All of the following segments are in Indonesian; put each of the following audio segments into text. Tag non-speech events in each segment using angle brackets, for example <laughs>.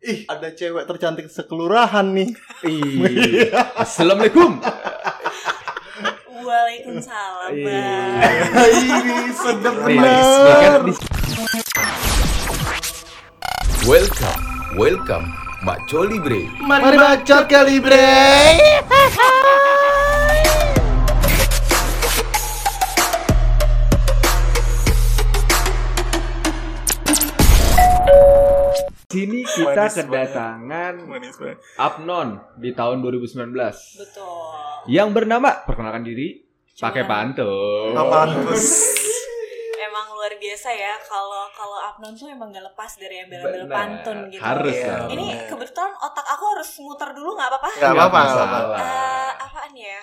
Ih, ada cewek tercantik sekelurahan nih. Ih. Iya. Assalamualaikum. Waalaikumsalam, Iya. Bang. Ini sedap Nice, ya kan? Welcome, welcome, Mak Coli Bre. Mari bacot kali bre. Sini kita Manis banget. kedatangan Manis banget. Abnon di tahun 2019 Betul. yang bernama perkenalkan diri pakai Iya. Cuman pantun. Apaan <laughs> terus? Emang luar biasa ya kalau kalau Abnon tuh emang gak lepas dari embel-embel Benar. pantun gitu. Nah, Harus Iya. dong. Iya, Ini kebetulan otak aku harus muter dulu nggak apa-apa? Nggak apa-apa, nggak masalah. apa-apa. Eh, apaan ya?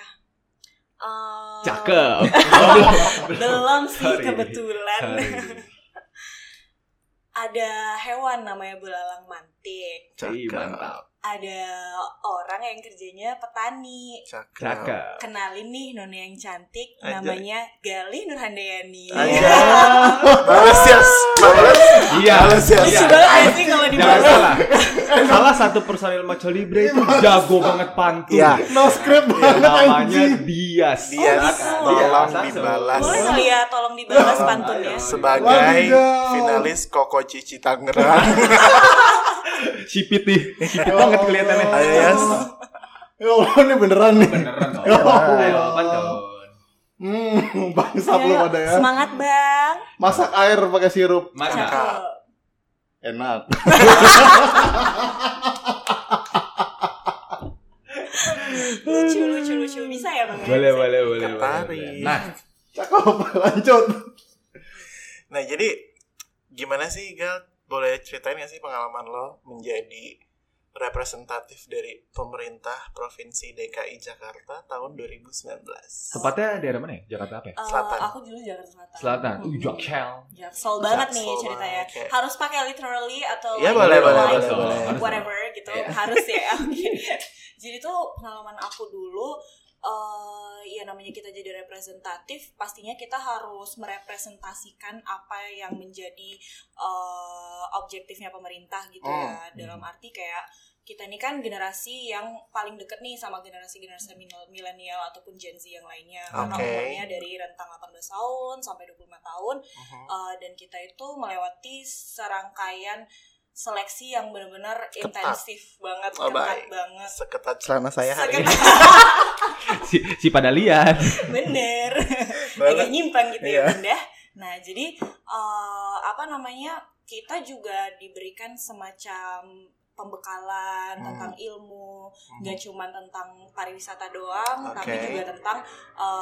Eh, Cakep. Belum sih Sorry. kebetulan. Sorry. Ada hewan namanya belalang mantik. Ih, mantap. Ada orang yang kerjanya petani. Cakep. Cakep. Kenalin nih nona yang cantik Anjay. namanya Galih Nurhandayani. Anjay. Balas yes. Balas. Iya. Balas ya. Lucu Iya. banget gak sih kalau Jangan dibahas. salah. Salah satu personil Macho Libre itu jago banget pantun. Iya. No script banget Namanya anjing. Dias. Dias. gitu. Tolong Dias. dibalas. Boleh kali ya tolong dibalas Iya. pantunnya. Sebagai Wadidaw. finalis Koko Cici Tangerang. <laughs> Sipit nih. Sipit banget kelihatannya. Ayo yes. Ya Allah, ini beneran nih. Beneran dong. Ya Allah. Ayo, pantun. Hmm, bangsa Ayo, lu pada ya. Iya, Semangat bang. Masak air pakai sirup. Mantap. Cakep. Cakep. Enak. Lucu lucu lucu bisa ya bang? ya? Boleh, boleh, boleh. Tertarik. boleh. Nah, Cakep, <laughs> lanjut. Nah jadi gimana sih Gal? Boleh ceritain gak sih pengalaman lo menjadi representatif dari pemerintah provinsi DKI Jakarta tahun 2019? tepatnya daerah mana ya? Jakarta apa ya? Eh, Selatan. aku dulu Jakarta Selatan. Selatan. Uh, Hmm. Jaksel. Jaksel banget nih Jaksel ceritanya. banget, kayak- Harus pakai literally atau Iya, like, boleh, boleh, like, boleh, boleh. whatever gitu. Iya. Harus <laughs> ya. Oke. Jadi tuh pengalaman aku dulu eh ya namanya kita jadi representatif, pastinya kita harus merepresentasikan apa yang menjadi eh, objektifnya pemerintah gitu Hmm. ya. Dalam arti kayak kita ini kan generasi yang paling deket nih sama generasi-generasi mil- milenial ataupun Gen Z yang lainnya. Karena Oke. umurnya dari rentang 18 tahun sampai 25 tahun Mhm. Uh, dan kita itu melewati serangkaian seleksi yang benar-benar Ketat. intensif banget, Oh, ketat baik. banget. Seketat celana saya hari ini. Seketat- Si, si pada lihat. <laughs> <laughs> bener, agak Banget. nyimpang gitu ya Iya. bunda. Nah jadi uh, apa namanya kita juga diberikan semacam pembekalan Hmm. tentang ilmu, nggak cuma tentang pariwisata doang, tapi Oke. juga tentang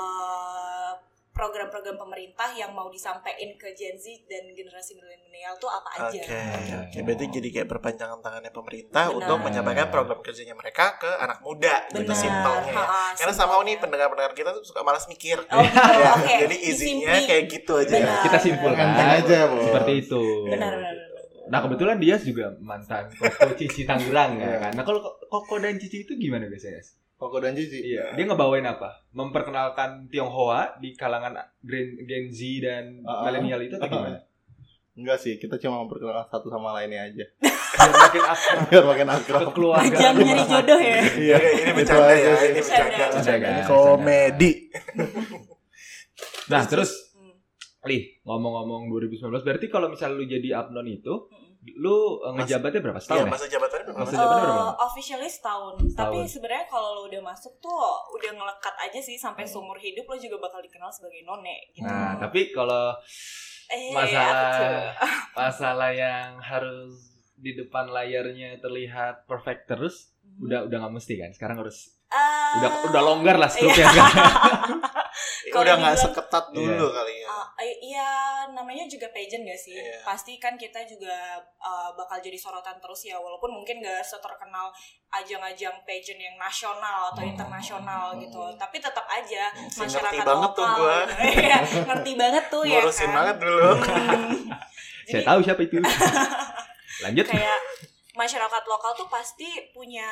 uh, program-program pemerintah yang mau disampaikan ke Gen Z dan generasi milenial tuh apa aja. Oke, oke. berarti jadi kayak berpanjangan tangannya pemerintah Benar. untuk menyampaikan program kerjanya mereka ke anak muda gitu Benar. simpelnya. Ha-ha, Karena sama simpelnya. nih pendengar-pendengar kita tuh suka malas mikir. Oh, gitu. <laughs> Ya, Oke. Jadi isinya Disimpli. kayak gitu aja. Benar. Kita simpulkan. Enteng aja, Bos. Seperti itu. Benar, benar, benar. Gitu. Nah kebetulan Dias juga mantan Koko Cici Tangerang Iya. ya kan. Nah kalau Koko dan Cici itu gimana biasanya? Koko dan Cici. Iya. Dia ngebawain apa? Memperkenalkan Tionghoa di kalangan Gen, Gen Z dan Uh-uh. milenial itu atau gimana? Enggak sih, kita cuma memperkenalkan satu sama lainnya aja. <laughs> Biar makin akrab Biar makin ke akrab. keluarga. Jangan nyari jodoh ya. Iya, Oke, ini bercanda Itu ya, aja sih. ini bercanda. Bercanda, bercanda. Komedi. Nah terus Hmm. Lih, ngomong-ngomong 2019 berarti kalau misalnya lu jadi Abnon itu, Mm-mm. lu eh, ngejabatnya berapa Iya, setahun? ya? masa jabatannya berapa? Masa sih? jabatannya berapa? Eh, officially setahun. Tapi Setahun. sebenarnya kalau lo udah masuk tuh udah ngelekat aja sih sampai Hmm. seumur hidup lo juga bakal dikenal sebagai none gitu. Nah, tapi kalau Eh, apa tuh? masalah masalah yang harus di depan layarnya terlihat perfect terus udah udah nggak mesti kan sekarang harus Eh, udah udah longgar iya. lah struknya <laughs> kan <laughs> Kalau Udah nggak dibilang- seketat dulu kali ya. Ah, i- Iya, namanya juga pageant gak sih? Iya. Pasti kan kita juga ah, bakal jadi sorotan terus ya, walaupun mungkin gak seterkenal ajang-ajang pageant yang nasional atau Hmm. internasional gitu, tapi tetap aja Hmm, sih, masyarakat ngerti banget tuh gua. <laughs> Iya, ngerti banget tuh ya. Ngurusin kan? banget dulu. Hmm. <laughs> saya Jadi tahu siapa Iya. itu lanjut kayak masyarakat lokal tuh pasti punya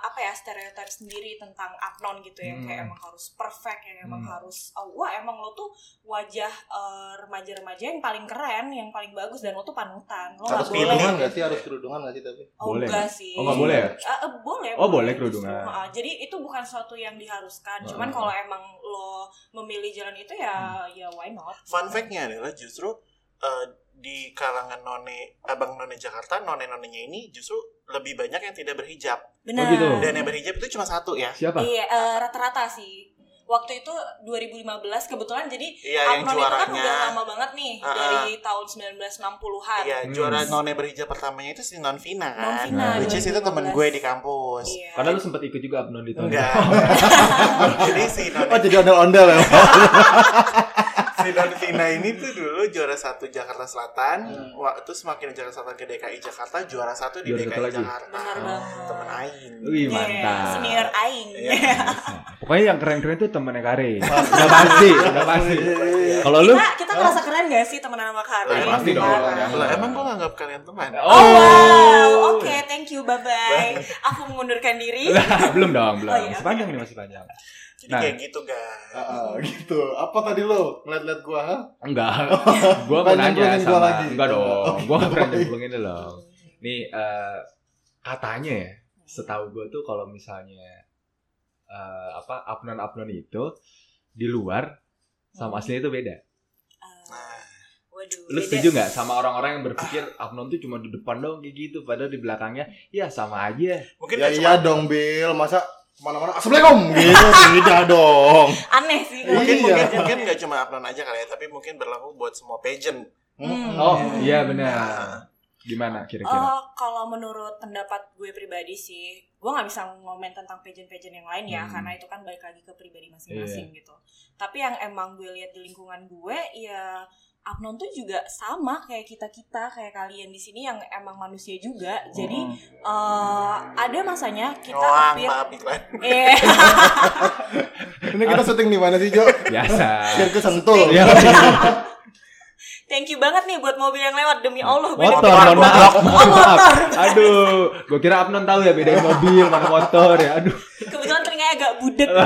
apa ya stereotip sendiri tentang apnon gitu yang kayak Hmm. emang harus perfect yang emang Hmm. harus oh, wah emang lo tuh wajah eh, remaja-remaja yang paling keren yang paling bagus dan lo tuh panutan Oh, lo nggak Harus kerudungan boleh nggak sih? Harus kerudungan nggak sih tapi? oh Boleh. enggak sih Oh nggak boleh ya? Ah, eh, boleh. Oh, boleh kerudungan. justru. Ah, jadi itu bukan suatu yang diharuskan. Heeh. Cuman kalau emang lo memilih jalan itu ya Hmm. ya why Oh, not? gitu. Fun fact-nya adalah justru eh, di kalangan none abang none Jakarta none nonenya ini justru lebih banyak yang tidak berhijab Benar. Oh, gitu. dan yang berhijab itu cuma satu ya Siapa? Iya, eh, rata-rata sih. Waktu itu 2015 kebetulan jadi iya yang Apnon itu kan udah juaranya lama banget nih Ah, dari tahun 1960-an. iya Hmm. juara none berhijab pertamanya itu si non Vina kan Non-Vina, which is itu temen 2015. gue di kampus Iya. Padahal lu sempat ikut juga Abnon di tahun <laughs> enggak jadi si non Oh jadi ondel-ondel <laughs> ya? si non Vina ini tuh dulu juara satu Jakarta Selatan Hmm. waktu semakin Jakarta Selatan ke DKI Jakarta juara satu di Juara DKI satu lagi. Jakarta Iya, Benar banget. temen Ain Wih Iya, mantap. senior aing. Iya. Nah, Pokoknya yang keren-keren tuh temennya Kare. Oh. Udah pasti, udah Iya, <laughs> <laughs> pasti. Kalau lu <laughs> <laughs> Kita kita merasa keren gak sih temenan sama Kak Lah, Aing? pasti dong. Parah. Nah, Lah, emang gue nganggap kalian teman Oh, wow. Oke, thank you. Bye-bye. Aku mengundurkan <laughs> diri. Eh, Lah, belum dong, belum. Oh, iya. Masih panjang nih, masih panjang. jadi Nah. kayak gitu guys gitu. Apa tadi lo? Ngeliat-liat gua? ha? <laughs> Enggak. gua mau Bukan nanya nyemplungin sama gua lagi. Oh, iya. Enggak dong. Oke, Gua enggak pernah <laughs> baik. nyemplungin lu loh. Nih eh, katanya ya, setahu gua tuh kalau misalnya eh, apa apnon-apnon itu di luar sama aslinya itu beda. Nah, Waduh. Lu beda. setuju nggak sama orang-orang yang berpikir apnon tuh cuma di depan dong kayak gitu, padahal di belakangnya ya sama aja. mungkin ya gak iya cuma- dong Bill. Masa kemana-mana Assalamualaikum gitu. Tidak dong. Aneh sih. kalau mungkin Iya. mungkin mungkin nggak cuma Abnon aja kali ya tapi mungkin berlaku buat semua pageant Hmm. Oh, Hmm. iya benar. Gimana kira-kira? Eh, kalau menurut pendapat gue pribadi sih, gue nggak bisa ngomen tentang pageant-pageant yang lain Hmm. ya, Iya. karena itu kan balik lagi ke pribadi masing-masing gitu. Tapi yang emang gue lihat di lingkungan gue, ya Abnon tuh juga sama kayak kita kita kayak kalian di sini yang emang manusia juga. Jadi Oh. eh, ada masanya kita Noang, appear- maaf iklan. <laughs> eh Ini kita syuting di mana sih Jo? Biasa. Biar kesentul. Iya. thank you banget nih buat mobil yang lewat demi Ya Allah. gue motor, deg-degan mohon banget. maaf, mohon motor. maaf. Aduh, gue kira Abnon tahu ya bedain mobil mana motor ya. Aduh, Kebetulan telinganya agak budet ya.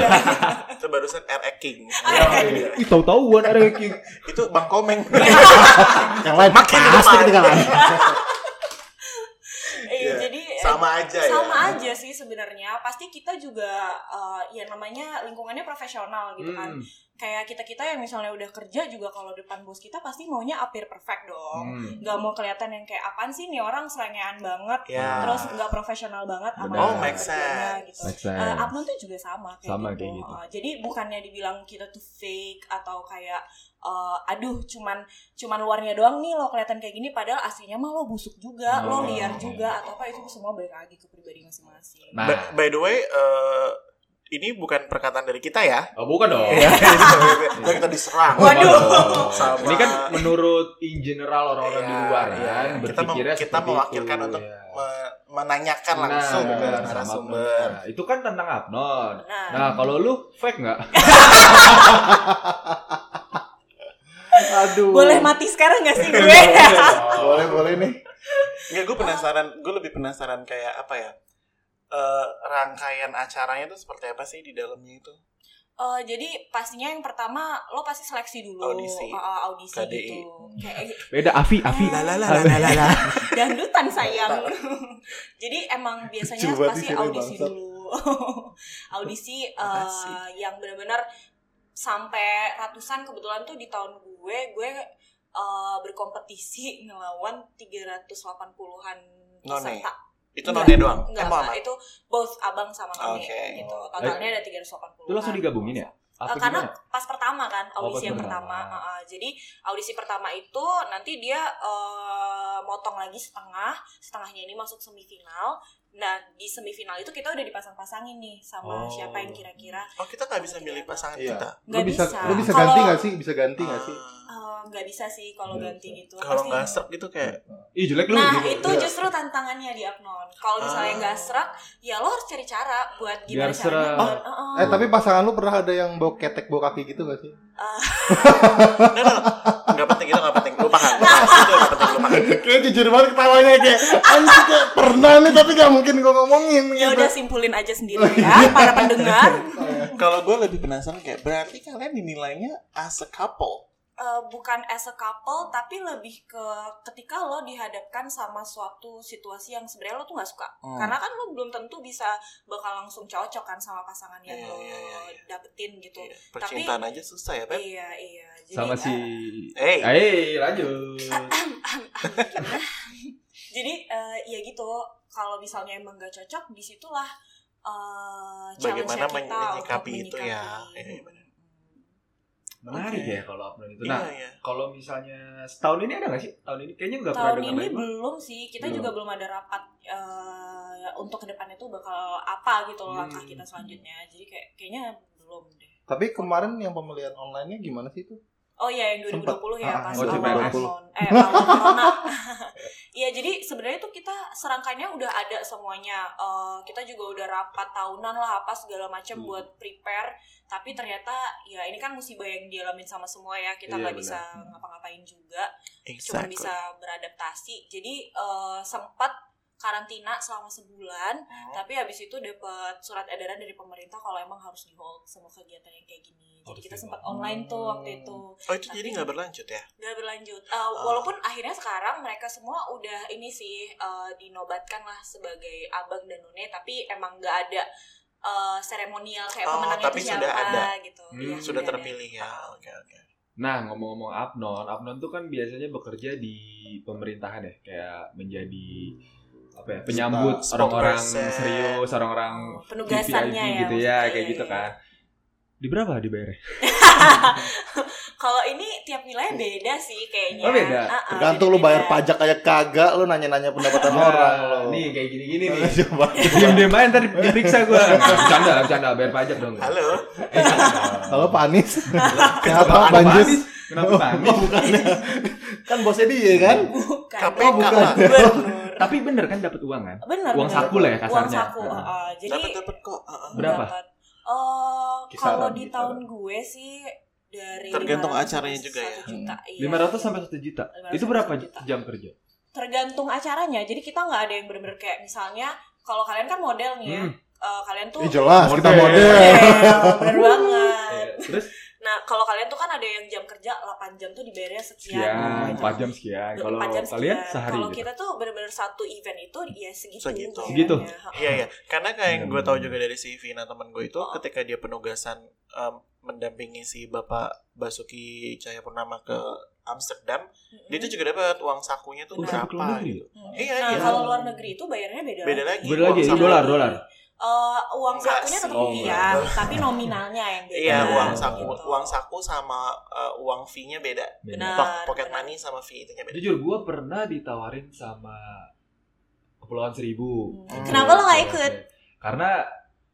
Itu barusan RX King. Iya, iya. ih tahu-tahuan ada yang kayak- Itu Bang Komeng. Yang lain Makin pasti depan. ketinggalan. Iya, jadi eh, Sama Iya, aja ya. sama aja sih sebenarnya pasti kita juga eh, ya namanya lingkungannya profesional gitu kan Hmm. kayak kita kita yang misalnya udah kerja juga kalau depan bos kita pasti maunya appear perfect dong Hmm. nggak mau kelihatan yang kayak apaan sih nih orang selengean banget Ya. terus nggak profesional banget sama Benar. Ah. Oh, kerjanya make sense. gitu Make Eh, sense. Abnon tuh juga sama kayak Sama gitu. kayak gitu. Eh, jadi bukannya dibilang kita tuh fake atau kayak eh, aduh cuman cuman luarnya doang nih lo kelihatan kayak gini padahal aslinya mah lo busuk juga, Oh. lo liar juga atau apa itu semua balik lagi ke pribadi masing-masing. Nah, Ba- By the way, eh, ini bukan perkataan dari kita ya. oh, bukan dong. <laughs> Ntar kita diserang. Waduh. Sama. Ini kan menurut in general orang-orang di Iya, luar iya. kan Kita berpikirnya mem- kita seperti mewakilkan itu, untuk ya. me- menanyakan langsung Nah, ke benar, sama narasumber. Abnon. Nah, itu kan tentang Abnon. Nah, Nah, kalau lu fake nggak? Aduh. boleh mati sekarang gak sih <laughs> gue? Boleh Oh. boleh nih. nah. Enggak, gue penasaran. Gue lebih penasaran kayak apa ya? Eh, rangkaian acaranya tuh seperti apa sih di dalamnya itu? Eh, jadi pastinya yang pertama lo pasti seleksi dulu Audisi. Eh, eh, audisi KDI. gitu. Kayak Beda Avi, Avi. La, la, la, dangdutan sayang. Jadi emang biasanya Coba pasti ditiru, audisi bangsat. dulu. <laughs> audisi eh, Makasih. yang benar-benar sampai ratusan kebetulan tuh di tahun gue gue eh, berkompetisi ngelawan 380-an None. peserta. Itu Enggak, nonnya doang. Enggak, Emang enggak. itu both abang sama none Oke. gitu. Totalnya ada 380. Itu langsung digabungin ya? Apa Eh, karena gimana? pas pertama kan Oh, audisi pas yang pertama, pertama. Heeh, jadi audisi pertama itu nanti dia eh, motong lagi setengah setengahnya ini masuk semifinal nah di semifinal itu kita udah dipasang-pasangin nih Oh. sama siapa yang kira-kira Oh kita nggak bisa milih pasangan Iya. kita. Lu nggak bisa bisa, lu bisa ganti Kalau- nggak sih? Bisa ganti nggak sih? Ah. eh, nggak bisa sih kalau Nggak ganti gitu Kalau Pasti- nggak serp gitu kayak Ih, jelek lu. nah gitu. itu Iya. justru tantangannya di Abnon kalau misalnya Ah. nggak serak ya lo harus cari cara buat Biar gimana caranya serak. buat- Heeh. Eh tapi pasangan lu pernah ada yang bawa ketek bawa kaki gitu gak sih? <laughs> Nggak, nggak, nggak penting itu nggak penting. Lu paham. Lu paham. Itu nggak penting lu paham. Kayak jujur banget ketawanya kayak anjir kayak pernah nih tapi gak mungkin gue ngomongin ya Iya, udah simpulin <laughs> aja sendiri ya para pendengar Kalau gue lebih penasaran kayak berarti kalian dinilainya as a couple. Eh, bukan as a couple tapi lebih ke ketika lo dihadapkan sama suatu situasi yang sebenarnya lo tuh nggak suka Hmm. karena kan lo belum tentu bisa bakal langsung cocok kan sama pasangan yang Iya, lo iya, iya, iya. dapetin gitu Iya, Percintaan aja susah ya, Pep. iya iya Jadi, sama si eh, Hey. Eh, lanjut. <laughs> jadi eh, ya gitu kalau misalnya emang gak cocok disitulah eh, Bagaimana challenge-nya kita men- menyikapi untuk itu ya. menyikapi. Iya, iya, benar. Menarik Oke. ya kalau upload itu. Iya, Nah, iya. kalau misalnya setahun ini ada nggak sih? Tahun ini kayaknya nggak pernah tahun dengar ini lagi. belum sih kita Belum. juga belum ada rapat eh, untuk kedepannya tuh bakal apa gitu loh langkah Hmm. kita selanjutnya jadi kayak kayaknya belum deh Tapi kemarin yang pemilihan online-nya gimana sih itu? oh iya yang 2020 ya Ah, pas oh, awal CPNS. tahun eh awal corona <laughs> Iya jadi sebenarnya tuh kita serangkaiannya udah ada semuanya Eh, kita juga udah rapat tahunan lah apa segala macam Hmm. buat prepare tapi ternyata ya ini kan musibah yang dialamin sama semua ya kita Iya, nggak benar. bisa ngapa-ngapain juga cuma Exactly. bisa beradaptasi. Jadi eh, sempat karantina selama sebulan, Hmm. tapi habis itu dapat surat edaran dari pemerintah kalau emang harus di hold semua kegiatan yang kayak gini. Jadi Harus kita di sempat hold. online tuh waktu itu, Oh itu jadi nggak berlanjut ya? nggak berlanjut. Eh, walaupun akhirnya sekarang mereka semua udah ini sih eh, dinobatkan lah sebagai abang dan none, tapi emang nggak ada eh, seremonial kayak Oh, pemenangnya tapi itu sudah siapa ada. gitu. Hmm, Iya, Ah, Sudah ada. terpilih ya. Oke oke. Nah, ngomong-ngomong Apnon, Apnon tuh kan biasanya bekerja di pemerintahan ya, kayak menjadi apa ya, penyambut Spot- orang-orang spokesperson. serius, orang-orang Penugasannya VIP gitu ya, ya. maksudnya, kayak iya, gitu iya. kan. Di berapa dibayarnya? Kalau ini tiap wilayah beda sih kayaknya. Oh, beda? Ah, Iya. ah, Tergantung lu bayar beda-beda. pajak aja kagak, lu nanya-nanya pendapatan orang lo. Nih kayak gini-gini nih. Coba. Diam-diam aja ntar diperiksa gua. Bercanda, bercanda, bayar pajak dong. Halo. Eh, jangan. <laughs> Halo Pak Anies. Kenapa Kenapa Banjus? Anies? Kenapa Anies? Kan bosnya dia kan? Bukan. KPK bukan. lah. Gubernur. Tapi bener kan dapat uang kan? Bener. Uang bener. saku lah ya Uang kasarnya. saku. Heeh. ah, jadi Dapat dapat kok. Ah, ah. Berapa? dapat. Eh, Kisaran, kalau di kisaran. tahun gue sih dari Tergantung 500 acaranya sampai juga ya. 1 juta, iya. 500 sampai 1 juta. 500 Itu berapa juta. jam kerja? tergantung acaranya. Jadi kita nggak ada yang bener-bener kayak misalnya kalau kalian kan model nih ya. Hmm. eh, kalian tuh Eh, jelas kita Model. model. model, bener banget. Iya, Terus Nah, kalau kalian tuh kan ada yang jam kerja 8 jam tuh dibayarnya sekian. sekian, gitu. 4 jam sekian. Kalau Empat jam kalian sekian. sehari Kalau gitu. kita tuh bener-bener satu event itu ya segitu. Segitu. bayarnya. Segitu? Ha. Iya ya, karena kayak yang gue Hmm. tahu juga dari si Vina teman gue itu Ah. ketika dia penugasan em, mendampingi si Bapak Basuki Cahayapurnama ke Hmm. Amsterdam, dia tuh juga dapat uang sakunya tuh Oh, sampai ke luar berapa? negeri Gitu. ya? Hmm. Iya, nah, iya. kalau luar negeri itu bayarnya beda. Beda lagi. Beda lagi, iya, uang saku. dolar, dolar. Eh, uang Enggak sakunya tetap sih. Oh, rupiah, enggak. tapi nominalnya yang beda. Iya, Nah, uang saku, gitu. uang saku sama eh, uang fee-nya beda. Benar. Po- Pocket benar. money sama fee-nya beda. Jujur, gue pernah ditawarin sama Kepulauan Seribu. Hmm. Kenapa lo nggak ikut? Karena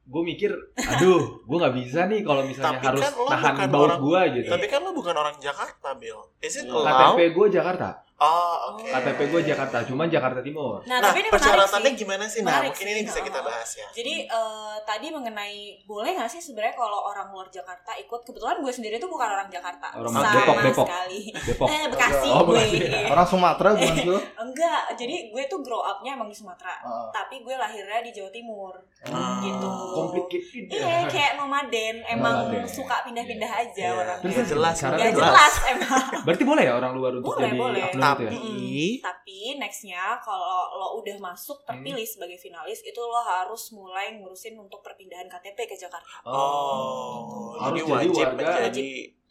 gue mikir, aduh, gue nggak bisa nih kalau misalnya Tapi harus kan lo nahan bukan baut orang- gue gitu. Tapi kan lu bukan orang Jakarta, Bill. Is it KTP allowed? gue Jakarta, Oh, oke. KTP gue Jakarta, cuman Jakarta Timur. Nah, Nah, tapi ini menarik persyaratannya sih. gimana sih? Nah, Menarik mungkin sih. ini bisa kita Ah. bahas ya. Jadi eh, tadi mengenai boleh nggak sih sebenarnya kalau orang luar Jakarta ikut kebetulan gue sendiri tuh bukan orang Jakarta Orang sama Depok, Depok. sekali. Depok. Eh Bekasi Oh, gue. Bekasi. Orang Sumatera bukan sih lo? Enggak, jadi gue tuh grow up-nya emang di Sumatera, Heeh. tapi gue lahirnya di Jawa Timur. Oh. Ah. gitu. Complicated. Iya, kayak nomaden, emang Nomaden. suka pindah-pindah aja Iya. orang. Terus Nggak jelas, sekarang Gak jelas. jelas emang. Berarti boleh ya orang luar untuk iya. Boleh, jadi boleh. upload Tapi itu ya? Tapi nextnya kalau lo udah masuk terpilih sebagai finalis itu lo harus mulai ngurusin untuk perpindahan KTP ke Jakarta. Oh, Harus jadi jadi wajib warga- menjadi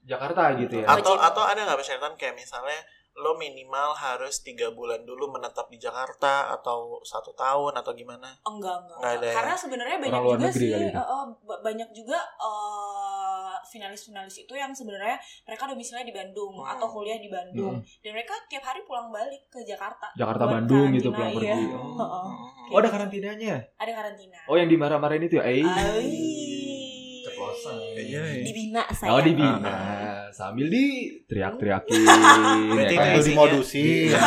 Jakarta gitu ya. atau Wajib. atau ada nggak persyaratan kayak misalnya lo minimal harus tiga bulan dulu menetap di Jakarta atau satu tahun atau gimana? Enggak enggak. Nggak ada ya? Karena sebenarnya banyak Orang luar juga negeri sih kali itu. eh, eh, ba- banyak juga eh, finalis-finalis itu yang sebenarnya mereka domisilinya di Bandung Hmm. atau kuliah di Bandung dan mereka tiap hari pulang balik ke Jakarta. Jakarta Buat Bandung gitu karantina, pulang pergi. iya. Oh. Heeh. Oh, ada karantinanya. Ada karantina. Oh yang dimarah-marahin itu ya? Eh. Ai. Ceplosan. Iya, iya. Dibina saya. Oh dibina sambil di teriak-teriakin. Berarti ya kan? Itu isinya- <laughs> dimodusin. Iya.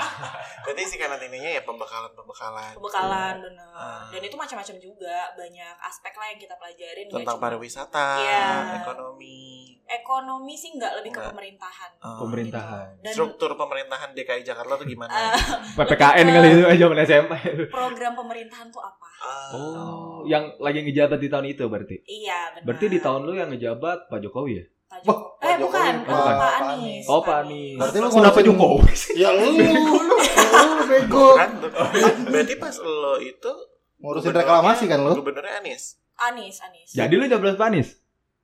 <laughs> Berarti sih karena ininya ya pembekalan-pembekalan Pembekalan bener. Ah. Dan itu macam-macam juga, banyak aspek lah yang kita pelajarin. Nggak tentang Iya, cuma- pariwisata, Iya. ekonomi, Ekonomi sih nggak lebih ke Nggak. pemerintahan. eh, Pemerintahan. Dan struktur pemerintahan DKI Jakarta tuh gimana? eh, PPKN kali itu aja zaman SMP. program pemerintahan tuh apa? Ah, Oh, yang lagi ngejabat di tahun itu berarti. Iya benar. Berarti di tahun lu yang ngejabat Pak Jokowi ya? Pak Joko- Wah, Pak eh Jokowi, bukan, Pak- Eh, Pak Pak Anies. Anies. Oh, Pak Anies. Berarti lu Kenapa ngurusin- Jokowi? Ya lu, lu, lu, lu bego. kan? Berarti pas lo itu Oh. Ngurusin gubernurnya- reklamasi kan lu? Gubernurnya Anies. Anies, Anies. Jadi lu jablas Pak Anies?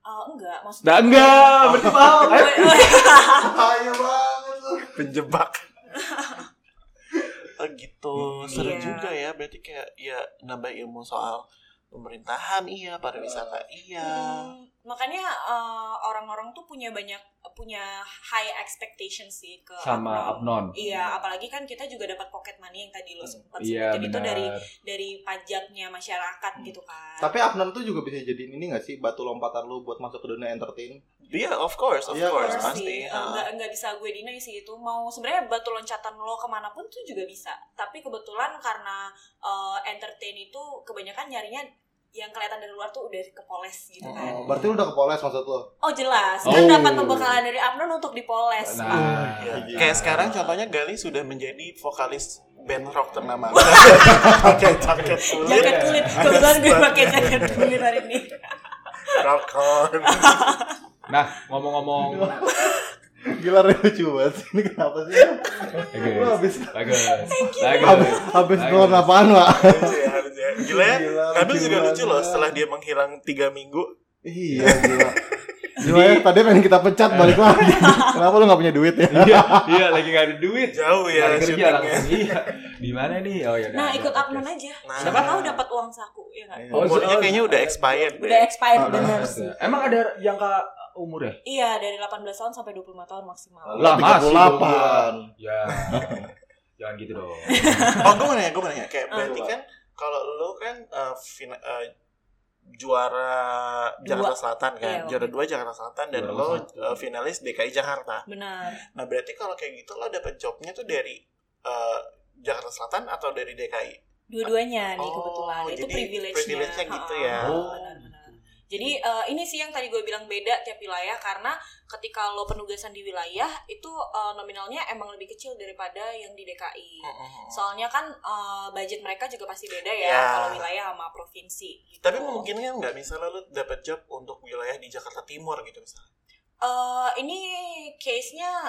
Eh, enggak, maksudnya. Nah, enggak, berarti paham. Ayo. <laughs> Bahaya banget lu. <laughs> Penjebak. oh gitu, Hmm. seru Iya. juga ya. Berarti kayak ya nambah ilmu soal pemerintahan iya, pariwisata iya. Hmm, makanya eh, orang-orang tuh punya banyak punya high expectation sih ke Sama Abnon. Abnon. Iya, apalagi kan kita juga dapat pocket money yang tadi lo sempat Iya, sebutin itu dari benar. dari pajaknya masyarakat gitu kan. Tapi Abnon tuh juga bisa jadiin ini gak sih batu lompatan lu buat masuk ke dunia entertain? Iya, of course, of Iya, course, pasti. pasti. Eh, Ah. nggak nggak bisa gue deny sih itu mau sebenarnya batu loncatan lo kemanapun tuh juga bisa tapi kebetulan karena eh, entertain itu kebanyakan nyarinya yang kelihatan dari luar tuh udah kepoles gitu kan Oh, berarti lu udah kepoles maksud lu? oh jelas kan Oh. dapat pembekalan dari Abnon untuk dipoles Pak. Nah, Iya. Iya. Kayak sekarang contohnya Gali sudah menjadi vokalis band rock ternama. Oke, jaket kulit, jaket kulit kebetulan gue pakai jaket kulit hari ini rock on. <laughs> nah ngomong-ngomong, Iya. Gila Ren, lucu banget sih. Ini kenapa sih? Lu bagus, habis bagus, habis bagus. habis Bagus. nonton apaan, Wak? Lucu ya, lucu ya. Gila ya, Gila, Nabil lucu juga lucu loh banget. setelah dia menghilang 3 minggu. Iya, gila. <laughs> Gila ya, tadi pengen kita pecat balik lagi. Kenapa lu gak punya duit ya? Iya, iya lagi nggak ada duit. Jauh ya Cari kerja syutingnya. langsung. Iya. Di mana nih? Oh ya. nah ikut Abnon aja Nah. siapa tahu dapat uang saku ya kan Oh, Umurnya so- Iya. kayaknya udah expired udah deh. expired Ah, bener sih Emang ada jangka umur ya? iya dari 18 tahun sampai 25 tahun maksimal Lah, masih 38. Ya. Jangan gitu dong. Oh, gue mau nanya, gue mau nanya. Kayak Ah. berarti kan kalau lu kan eh, fina- eh, juara Jakarta Selatan kan, Iya. juara dua Jakarta Selatan dan Juara lo satu. eh, finalis DKI Jakarta. benar Nah berarti kalau kayak gitu lo dapet jobnya tuh dari eh, Jakarta Selatan atau dari DKI? dua-duanya nih Oh, kebetulan itu jadi privilege-nya, privilege-nya gitu ya. Ha-ha, Oh. benar-benar. jadi eh, ini sih yang tadi gue bilang beda tiap wilayah karena ketika lo penugasan di wilayah itu eh, nominalnya emang lebih kecil daripada yang di Oh. DKI soalnya kan eh, budget mereka juga pasti beda ya Ya. kalau wilayah sama provinsi gitu. Tapi mungkin kan nggak misalnya lo dapet job untuk wilayah di Jakarta Timur gitu misalnya. Eh, ini case-nya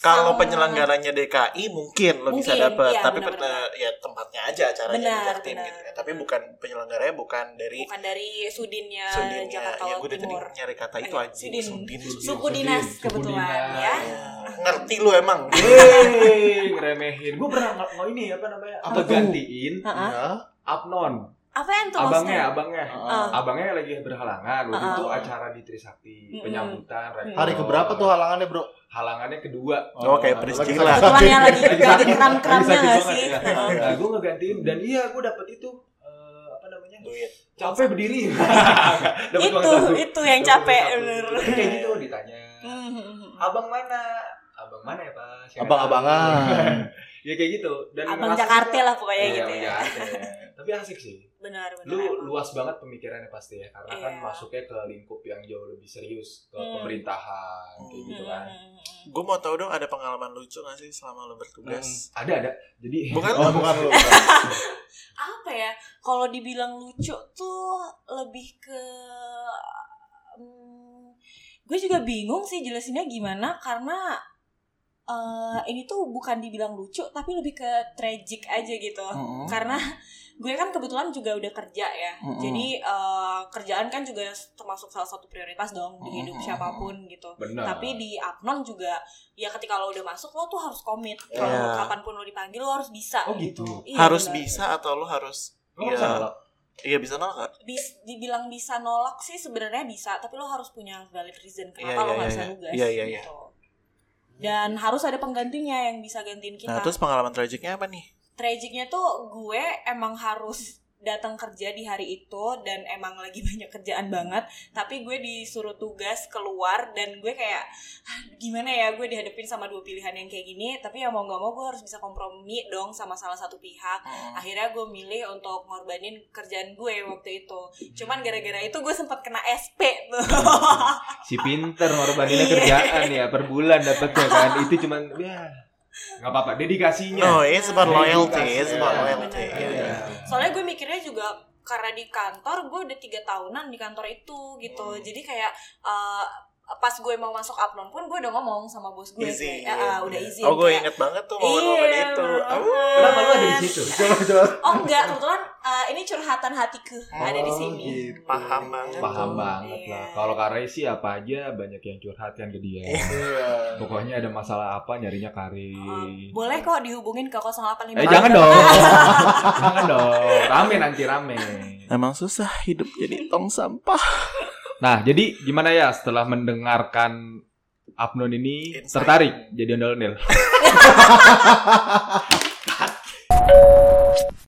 Kalau sama- penyelenggaranya DKI mungkin lo Mungkin, bisa dapet, iya, tapi benar, pet- eh, ya tempatnya aja acaranya Benar, di Jaktim benar. gitu ya. Tapi bukan penyelenggaranya bukan dari bukan dari sudinnya, Sudinnya. Jakarta Ya Timur gue udah tadi nyari kata itu Eh, anjing Sudin. Sudin. Sudin. suku dinas Sudin, suku kebetulan dinas. ya Ya, Ngerti lu emang. <laughs> Hei, ngeremehin. Gue pernah nggak mau ini apa namanya? Apa Apa tuh? gantiin Ha-ha. Iya. Abnon, apa yang tuh maksudnya? abangnya, abangnya. Ah. Abangnya lagi berhalangan waktu Ah. itu acara di Trisakti, Mm-mm. penyambutan rektor. Hari keberapa tuh halangannya, Bro? Halangannya kedua. Oh, kayak lagi Priscilla. sakit. kebetulan yang lagi Lagi lagi sakit. kram-kramnya Lagi sakit gak banget, sih? iya. Heeh. Nah, gue ngegantiin dan iya gue dapet itu eh, apa namanya? Duit. Capek berdiri. <laughs> Dapet uang itu saku. itu yang Dapet capek uang Iya. saku. bener. Kayak gitu ditanya. Hmm. Abang mana? Abang mana ya, Pak? Saya nggak Abang-abangan. tahu. <laughs> ya kayak gitu. Dan Abang ngerasa Jakarta juga- lah pokoknya Iya, gitu Abang ya. Jakarta. Tapi asik sih. Benar benar. lu emang. luas banget pemikirannya pasti ya karena kan Iya. masuknya ke lingkup yang jauh lebih serius ke Hmm. pemerintahan kayak gitu kan Hmm. Gue mau tahu dong ada pengalaman lucu gak sih selama lo bertugas? ada ada jadi <laughs> Bukan <laughs> Oh, lo? bukan lu. Apa ya? Kalau dibilang lucu tuh lebih ke hmm, gue juga bingung sih jelasinnya gimana karena eh, ini tuh bukan dibilang lucu tapi lebih ke tragic aja gitu. Mm-mm. karena gue kan kebetulan juga udah kerja ya Mm-mm. jadi eh, kerjaan kan juga termasuk salah satu prioritas dong di hidup Mm-mm. siapapun gitu benar tapi di Apnon juga ya ketika lo udah masuk lo tuh harus komit Iya. kalau kapanpun lo dipanggil lo harus bisa Oh, gitu. Iya, harus benar. bisa atau lo harus Lu nggak bisa Iya. nolak? iya bisa nolak gak? Bis- dibilang bisa nolak sih sebenarnya bisa tapi lo harus punya valid reason kenapa Iya, lo iya, nggak iya, bisa iya. nugas Iya, iya, iya. gitu dan harus ada penggantinya yang bisa gantiin kita Nah terus pengalaman tragiknya apa nih? tragicnya tuh gue emang harus datang kerja di hari itu dan emang lagi <laughs> banyak kerjaan banget tapi gue disuruh tugas keluar dan gue kayak "Hah, gimana ya gue dihadapin sama dua pilihan yang kayak gini tapi ya mau nggak mau gue harus bisa kompromi dong sama salah satu pihak Hmm. akhirnya gue milih untuk ngorbanin kerjaan gue waktu itu cuman gara-gara itu gue sempat kena SP tuh <laughs> si pinter ngorbaninnya kerjaan ya per bulan dapatnya kan itu cuman ya nggak apa-apa dedikasinya No, it's about Iya. loyalty, Iya. it's about loyalty. Iya. Iya. soalnya gue mikirnya juga karena di kantor gue udah tiga tahunan di kantor itu gitu Hmm. jadi kayak eh, pas gue mau masuk Apnon pun gue udah ngomong sama bos gue Izin. kayak, "Ah, udah izin Oh, gue Kayak, inget banget tuh Iya, momen-momen itu. bener Oh. banget. kenapa lu ada di situ Coba coba. Oh enggak, kebetulan eh, ini curhatan hatiku ada di Oh, sini. gitu. Paham banget. paham banget Iya. lah kalau Kare sih apa aja banyak yang curhat yang ke dia Iya. pokoknya ada masalah apa nyarinya Kare Eh, boleh kok dihubungin ke 0855. eh jangan dong jangan dong rame nanti rame Emang susah hidup jadi tong sampah. nah jadi gimana ya setelah mendengarkan Abnon ini Insight. tertarik jadi ondel-ondel